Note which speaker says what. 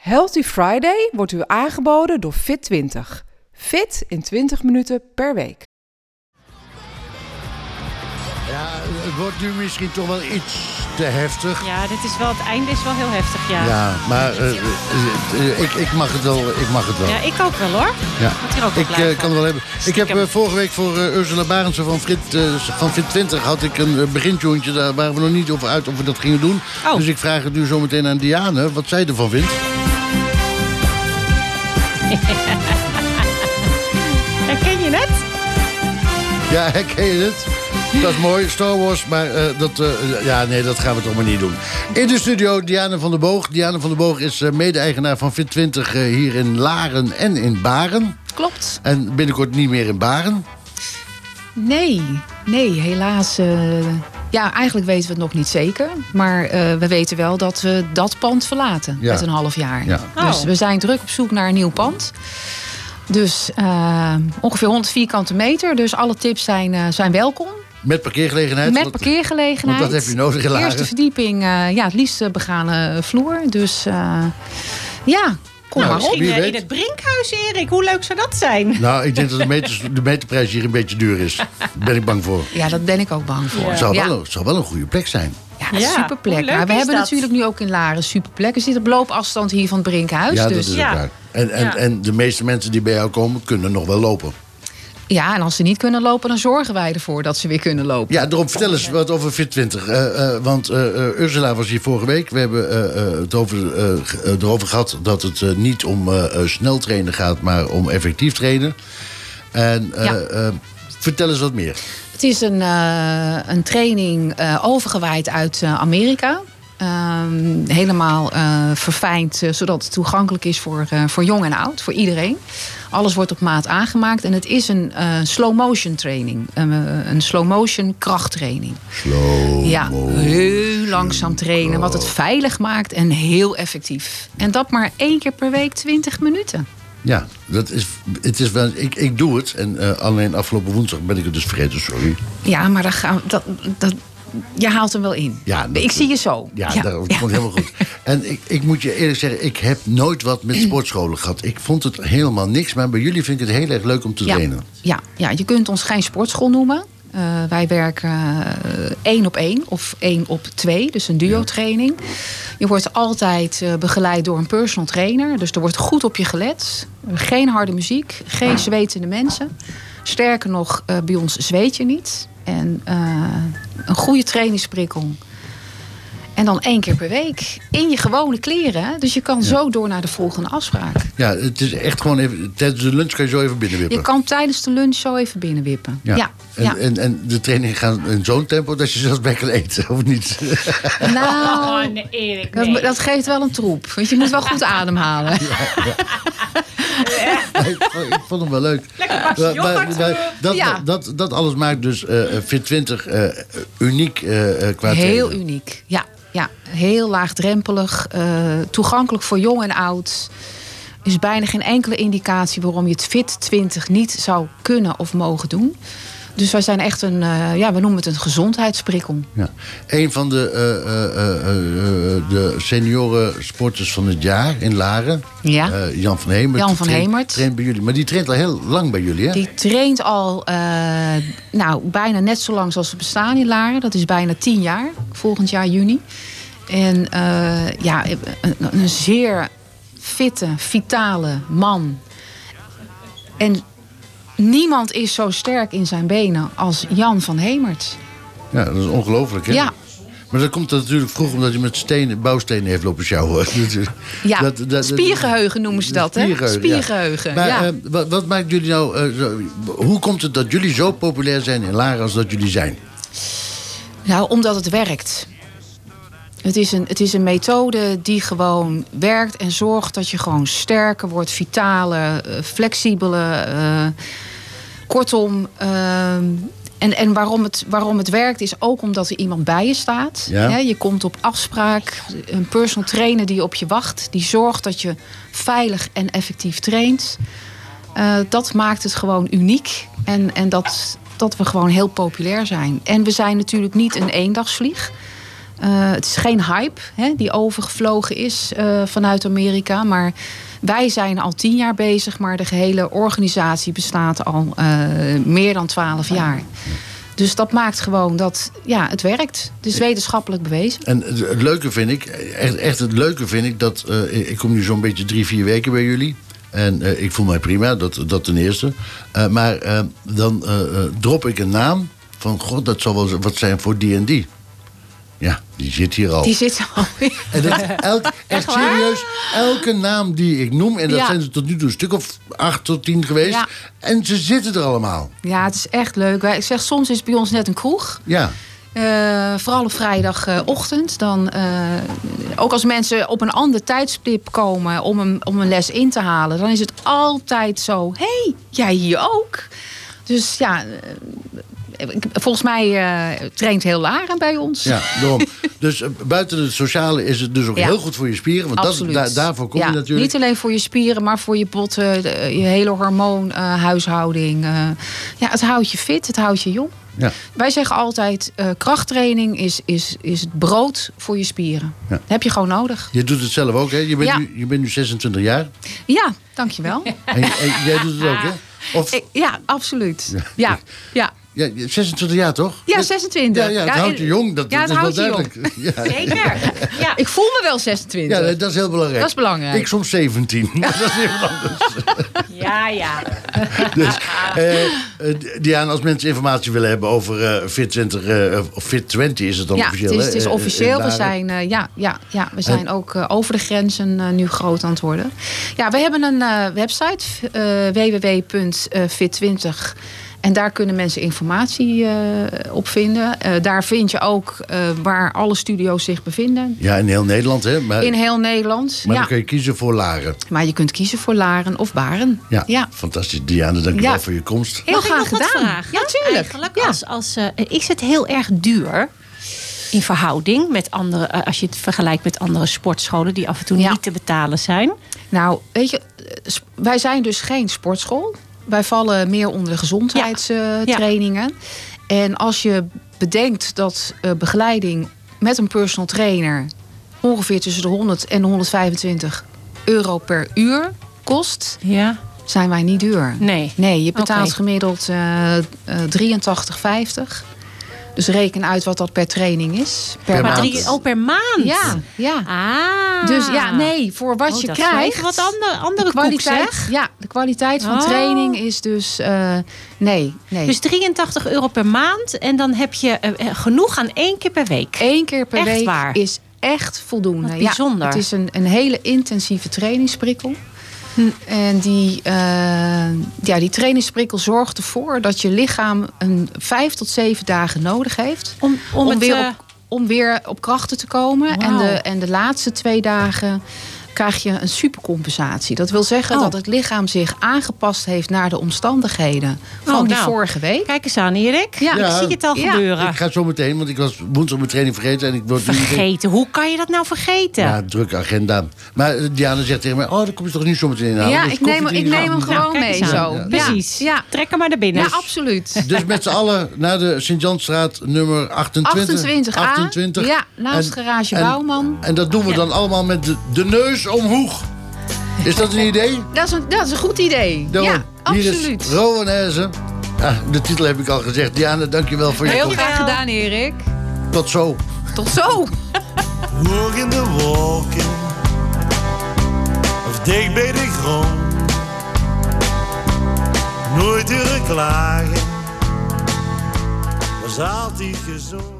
Speaker 1: Healthy Friday wordt u aangeboden door Fit20. Fit in 20 minuten per week.
Speaker 2: Ja, Eh, het wordt nu misschien toch wel iets te heftig.
Speaker 3: Ja, dit is wel, het einde is wel heel heftig, ja. ja.
Speaker 2: Ja, maar eh, eh, eh, ik, ik mag het wel. Ik mag het wel.
Speaker 3: ik ook wel hoor.
Speaker 2: Ja.
Speaker 3: Moet hier ook wel
Speaker 2: Ik eh,
Speaker 3: blij van.
Speaker 2: kan het wel hebben. Ik heb
Speaker 3: Stiekem.
Speaker 2: eh, vorige week voor eh, Ursula Barendse van Fit, eh, van Fit 20 had ik een eh, begintuntje. Daar waren we nog niet over uit of we dat gingen doen.
Speaker 3: Oh.
Speaker 2: Dus ik vraag het nu zometeen aan Diane wat zij ervan vindt.
Speaker 3: Herken je
Speaker 2: Oh,
Speaker 3: het?
Speaker 2: Ja, herken je het? Dat is mooi, Star Wars, maar eh, dat, eh, ja, nee, dat gaan we toch maar niet doen. In de studio Diane van der Boog. Diane van der Boog is eh, mede-eigenaar van Fit 20 eh, hier in Laren en in Baren.
Speaker 4: Klopt.
Speaker 2: En binnenkort niet meer in Baren.
Speaker 4: Nee, nee, helaas. eh, ja, eigenlijk weten we het nog niet zeker. Maar eh, we weten wel dat we dat pand verlaten
Speaker 2: Ja.
Speaker 4: met een half jaar.
Speaker 2: Ja.
Speaker 4: Dus
Speaker 3: Oh.
Speaker 4: we zijn druk op zoek naar een nieuw pand. Dus eh, ongeveer 100 vierkante meter. Dus alle tips zijn, eh, zijn welkom.
Speaker 2: Met parkeergelegenheid.
Speaker 4: Met
Speaker 2: want-
Speaker 4: parkeergelegenheid.
Speaker 2: want dat heb je nodig in Laren.
Speaker 4: Eerste verdieping, eh, ja, het liefst eh, begane vloer. Dus eh, ja, kom
Speaker 2: Nou,
Speaker 4: maar op.
Speaker 3: In,
Speaker 2: Wie
Speaker 3: eh,
Speaker 2: weet.
Speaker 3: in het Brinkhuis, Erik. Hoe leuk zou dat zijn?
Speaker 2: Nou, ik denk dat de, meters, de meterprijs hier een beetje duur is. Daar ben ik bang voor.
Speaker 4: Ja, dat ben ik ook bang voor.
Speaker 2: Het zou,
Speaker 4: Ja.
Speaker 2: wel, een- zou wel een goede plek zijn.
Speaker 4: Ja,
Speaker 3: Ja,
Speaker 4: super
Speaker 3: hoe
Speaker 4: plek.
Speaker 3: leuk
Speaker 4: Maar we
Speaker 3: is
Speaker 4: hebben
Speaker 3: dat?
Speaker 4: natuurlijk nu ook in Laren super plek. Er zit op loopafstand hier van het Brinkhuis.
Speaker 2: ja, dat
Speaker 4: dus,
Speaker 2: is ook
Speaker 3: Ja.
Speaker 2: waar. En, en,
Speaker 3: Ja.
Speaker 2: en de meeste mensen die bij jou komen, kunnen nog wel lopen.
Speaker 4: ja, en als ze niet kunnen lopen, dan zorgen wij ervoor dat ze weer kunnen lopen.
Speaker 2: Ja, daarom vertel eens wat over Fit20. Eh, eh, want eh, eh, Ursula was hier vorige week. We hebben eh, eh, het over, eh, ge- eh, erover gehad dat het eh, niet om eh, eh, snel trainen gaat, maar om effectief trainen. En eh,
Speaker 4: Ja.
Speaker 2: eh, vertel eens wat meer.
Speaker 4: Het is een, eh, een training eh, overgewaaid uit eh, Amerika. Ehm, helemaal eh, verfijnd, eh, zodat het toegankelijk is voor, eh, voor jong en oud, voor iedereen. Alles wordt op maat aangemaakt en het is een eh, slow motion training. Een, eh, een slow motion krachttraining.
Speaker 2: Slow
Speaker 4: Ja, heel langzaam trainen, wat het veilig maakt en heel effectief. En dat maar één keer per week 20 minuten.
Speaker 2: Ja, dat is, het is wel, ik, ik doe het. En eh, alleen afgelopen woensdag ben ik het dus vergeten, sorry.
Speaker 4: Ja, maar dan gaan, we- dat, dat, je haalt hem wel in.
Speaker 2: Ja, dat-
Speaker 4: ik zie je zo.
Speaker 2: Ja, dat komt helemaal goed. En ik, ik moet je eerlijk zeggen, ik heb nooit wat met sportscholen gehad. Ik vond het helemaal niks, maar bij jullie vind ik het heel erg leuk om te
Speaker 4: ja,
Speaker 2: trainen.
Speaker 4: ja, ja, je kunt ons geen sportschool noemen. Eh, wij werken eh, één op één of één op twee, dus een duo-training. Je wordt altijd eh, begeleid door een personal trainer, dus er wordt goed op je gelet. Geen harde muziek, geen zwetende mensen. Sterker nog, eh, bij ons zweet je niet. En eh, een goede trainingsprikkel. En dan één keer per week in je gewone kleren. hè. Dus je kan zo door naar de volgende afspraak.
Speaker 2: Ja, het is echt gewoon even. Tijdens de lunch kan je zo even binnenwippen.
Speaker 4: Je kan tijdens de lunch zo even binnenwippen. Ja. ja.
Speaker 2: En, En, en de trainingen gaan in zo'n tempo dat je zelfs bij kan eten, of niet?
Speaker 4: Nou,
Speaker 3: Oh, nee, Erik.
Speaker 4: dat,
Speaker 3: nee.
Speaker 4: dat geeft wel een troep. Want je moet wel goed ademhalen.
Speaker 2: ik, vond, ik vond hem wel leuk.
Speaker 3: Lekker bakje
Speaker 2: Maar- maar-
Speaker 3: yoghurt,
Speaker 2: maar
Speaker 3: eh.
Speaker 2: dat,
Speaker 4: Ja.
Speaker 2: dat, dat, alles maakt dus eh Fit20 eh, uniek eh, eh, qua
Speaker 4: Heel
Speaker 2: trainen.
Speaker 4: uniek. Ja, ja. heel laagdrempelig. eh, toegankelijk voor jong en oud. Er is bijna geen enkele indicatie waarom je het Fit 20 niet zou kunnen of mogen doen. Dus wij zijn echt een, eh, ja, we noemen het een gezondheidsprikkel.
Speaker 2: Ja. Een van de, eh, eh, eh, eh, eh, de senioren sporters van het jaar in Laren.
Speaker 4: Ja.
Speaker 2: Eh, Jan van Hemert.
Speaker 4: Jan van
Speaker 2: traint-
Speaker 4: Hemert.
Speaker 2: Traint bij jullie. Maar die traint al heel lang bij jullie, hè?
Speaker 4: Die traint al eh, nou, bijna net zo lang zoals we bestaan in Laren. Dat is bijna tien jaar, volgend jaar juni. En eh, ja, een, een zeer fitte, vitale man. En niemand is zo sterk in zijn benen als Jan van Hemert.
Speaker 2: Ja, dat is ongelooflijk, hè?
Speaker 4: Ja.
Speaker 2: Maar dat komt natuurlijk vroeg omdat hij met stenen, bouwstenen heeft lopen sjouwen.
Speaker 4: Ja, spiergeheugen noemen ze dat, hè? Spiergeheugen,
Speaker 2: Maar
Speaker 4: ja.
Speaker 2: eh, wat, wat maakt jullie nou... eh, zo- hoe komt het dat jullie zo populair zijn in Laren als dat jullie zijn?
Speaker 4: Nou, omdat het werkt. Het is, een, het is een methode die gewoon werkt en zorgt dat je gewoon sterker wordt, vitale, flexibele. eh, kortom, ehm, en, en waarom, het, waarom het werkt is ook omdat er iemand bij je staat.
Speaker 2: Ja.
Speaker 4: Hè, je komt op afspraak, een personal trainer die op je wacht, die zorgt dat je veilig en effectief traint. Eh, dat maakt het gewoon uniek. En, en dat, dat we gewoon heel populair zijn. En we zijn natuurlijk niet een eendagsvlieg. Eh, het is geen hype hè, die overgevlogen is eh, vanuit Amerika. Maar wij zijn al tien jaar bezig, maar de gehele organisatie bestaat al eh, meer dan twaalf jaar. Dus dat maakt gewoon dat ja, het werkt. Het is wetenschappelijk bewezen.
Speaker 2: En het, het leuke vind ik, echt, echt het leuke vind ik dat. eh, ik kom nu zo'n beetje drie, vier weken bij jullie. En eh, ik voel mij prima, dat, dat ten eerste. Eh, maar eh, dan eh, eh, drop ik een naam van: God, dat zal wel z- wat zijn voor die en die. Ja, die zit hier al.
Speaker 4: Die zit al.
Speaker 2: En dat, elk, echt
Speaker 4: waar?
Speaker 2: serieus, elke naam die ik noem, en dat
Speaker 4: Ja.
Speaker 2: zijn er tot nu toe een stuk of acht tot tien geweest.
Speaker 4: Ja.
Speaker 2: En ze zitten er allemaal.
Speaker 4: Ja, het is echt leuk. Wij- Ik zeg, soms is het bij ons net een kroeg.
Speaker 2: Ja.
Speaker 4: Eh, vooral op vrijdagochtend. Dan, eh, ook als mensen op een ander tijdstip komen om een, om een les in te halen, dan is het altijd zo: hé, hey, jij hier ook? Dus ja, eh, ik- volgens mij eh, traint heel Laren bij ons.
Speaker 2: Ja, daarom. dus eh, buiten het sociale is het dus ook
Speaker 4: Ja.
Speaker 2: heel goed voor je spieren. Want dat,
Speaker 4: Absoluut.
Speaker 2: da- daarvoor kom
Speaker 4: Ja,
Speaker 2: je natuurlijk.
Speaker 4: Niet alleen voor je spieren, maar voor je botten, de- je hele hormoonhuishouding. Eh, ja, het houdt je fit, het houdt je jong.
Speaker 2: Ja.
Speaker 4: Wij zeggen altijd, eh, krachttraining is, is, is het brood voor je spieren.
Speaker 2: Ja.
Speaker 4: Dat heb je gewoon nodig.
Speaker 2: Je doet het zelf ook, hè? Je bent,
Speaker 4: Ja.
Speaker 2: nu, je bent nu 26 jaar.
Speaker 4: Ja, dankjewel.
Speaker 2: En, en jij doet het ook, hè? Of
Speaker 4: Ik- ja, absoluut. Ja, ja.
Speaker 2: ja, 26 jaar, toch?
Speaker 4: ja
Speaker 2: Dit-
Speaker 4: 26.
Speaker 2: Ja, ja, het houdt
Speaker 4: en-
Speaker 2: je jong, dat,
Speaker 4: ja,
Speaker 2: dat
Speaker 4: het
Speaker 2: is wel
Speaker 4: houdt je jong.
Speaker 2: duidelijk. Ja,
Speaker 3: Zeker. Ja.
Speaker 4: Ik voel me wel 26.
Speaker 2: ja, nee, dat is heel belangrijk.
Speaker 4: Dat is belangrijk.
Speaker 2: Ik soms 17, maar dat is heel anders.
Speaker 3: Ja, ja.
Speaker 2: Dus, eh, eh, Diana, als mensen informatie willen hebben over eh, Fit 20, eh, of Fit 20 is het dan
Speaker 4: ja,
Speaker 2: officieel,
Speaker 4: het is,
Speaker 2: hè?
Speaker 4: het is
Speaker 2: Eh, eh,
Speaker 4: officieel.
Speaker 2: daar-
Speaker 4: We zijn, eh, ja, ja, ja, we zijn ook eh, over de grenzen eh, nu groot aan het worden. Ja, we hebben een eh, website, www.fit20. En daar kunnen mensen informatie eh, op vinden. Eh, daar vind je ook eh, waar alle studio's zich bevinden.
Speaker 2: Ja, in heel Nederland, hè? Maar,
Speaker 4: In heel Nederland.
Speaker 2: Eh. maar
Speaker 4: ja.
Speaker 2: dan kun je kiezen voor Laren.
Speaker 4: maar je kunt kiezen voor Laren of Baren.
Speaker 2: Ja,
Speaker 4: ja.
Speaker 2: fantastisch. Diana, dank je
Speaker 4: Ja.
Speaker 2: wel voor je komst.
Speaker 4: Heel
Speaker 5: Mag ik
Speaker 4: graag
Speaker 5: nog wat
Speaker 4: gedaan.
Speaker 5: vragen?
Speaker 4: Ja, tuurlijk.
Speaker 5: Eigenlijk,
Speaker 4: Ja.
Speaker 5: Als, als, eh, is het heel erg duur in verhouding met andere, eh, als je het vergelijkt met andere sportscholen die af en toe
Speaker 4: Ja.
Speaker 5: niet te betalen zijn?
Speaker 4: Nou, weet je, eh, sp- wij zijn dus geen sportschool. Wij vallen meer onder de gezondheidstrainingen. En als je bedenkt dat eh, begeleiding met een personal trainer ongeveer tussen de 100 en de 125 euro per uur kost,
Speaker 5: Ja.
Speaker 4: zijn wij niet duur.
Speaker 5: Nee.
Speaker 4: Nee, je betaalt
Speaker 5: Oké.
Speaker 4: gemiddeld eh eh, 83,50. Dus reken uit wat dat per training is.
Speaker 2: Per
Speaker 5: Maar
Speaker 2: maand.
Speaker 5: drie, oh, per maand?
Speaker 4: Ja, ja.
Speaker 5: Ah.
Speaker 4: Dus ja, nee, voor wat
Speaker 5: Oh,
Speaker 4: je
Speaker 5: dat is wel
Speaker 4: krijgt.
Speaker 5: even wat andere, andere koek, zeg.
Speaker 4: ja, de kwaliteit van
Speaker 5: Oh.
Speaker 4: training is dus eh, nee, nee.
Speaker 5: Dus 83 euro per maand. En dan heb je eh, eh, genoeg aan één keer per week.
Speaker 4: één keer per
Speaker 5: echt
Speaker 4: week
Speaker 5: waar.
Speaker 4: is echt voldoende.
Speaker 5: Wat bijzonder.
Speaker 4: Ja, het is een, een hele intensieve trainingsprikkel.
Speaker 5: Hm.
Speaker 4: En die, eh, ja, die trainingsprikkel zorgt ervoor dat je lichaam een vijf tot zeven dagen nodig heeft
Speaker 5: Om, om, het,
Speaker 4: weer,
Speaker 5: eh,
Speaker 4: op, om weer op krachten te komen. En,
Speaker 5: Wauw.
Speaker 4: de, en de laatste twee dagen krijg je een supercompensatie. Dat wil zeggen
Speaker 5: Oh.
Speaker 4: dat het lichaam zich aangepast heeft naar de omstandigheden van
Speaker 5: Oh,
Speaker 4: die
Speaker 5: nou.
Speaker 4: vorige week.
Speaker 5: Kijk eens aan, Erik.
Speaker 4: Ja.
Speaker 5: Ik
Speaker 2: Ja.
Speaker 5: zie het al
Speaker 4: Ja.
Speaker 5: gebeuren.
Speaker 2: Ik ga zo meteen, want ik was woensdag mijn training vergeten. En ik word nu meteen-
Speaker 5: Vergeten. Hoe kan je dat nou vergeten?
Speaker 2: Ja, drukke agenda. Maar eh, Diana zegt tegen mij, oh, dan kom je toch nu zo meteen inhalen.
Speaker 4: ja,
Speaker 2: Dat
Speaker 4: ik neem,
Speaker 2: koffieding
Speaker 4: ik neem hem
Speaker 2: is aan.
Speaker 4: gewoon
Speaker 5: Nou, kijk
Speaker 4: mee
Speaker 5: eens
Speaker 4: zo.
Speaker 5: aan.
Speaker 2: Ja.
Speaker 5: Precies.
Speaker 4: Ja,
Speaker 5: Trek hem maar naar binnen.
Speaker 4: ja absoluut.
Speaker 2: Dus met z'n allen naar de Sint-Janstraat nummer 28.
Speaker 4: 28a.
Speaker 2: 28.
Speaker 4: Ja, naast
Speaker 2: En-
Speaker 4: garage
Speaker 2: en-
Speaker 4: Bouwman.
Speaker 2: En dat doen we dan allemaal met de, de neus omhoog. Is dat een idee?
Speaker 4: Dat is een, dat is een goed idee.
Speaker 2: Daarom,
Speaker 4: ja,
Speaker 2: Hier
Speaker 4: absoluut.
Speaker 2: is Rowan Hezen. Ja, de titel heb ik al gezegd. Diana, dankjewel voor je
Speaker 4: Heel
Speaker 2: komst.
Speaker 4: graag gedaan, Erik.
Speaker 2: Tot zo.
Speaker 4: Tot zo.
Speaker 6: Walking the walking Of dik bij de grond Nooit durven klagen Was altijd gezond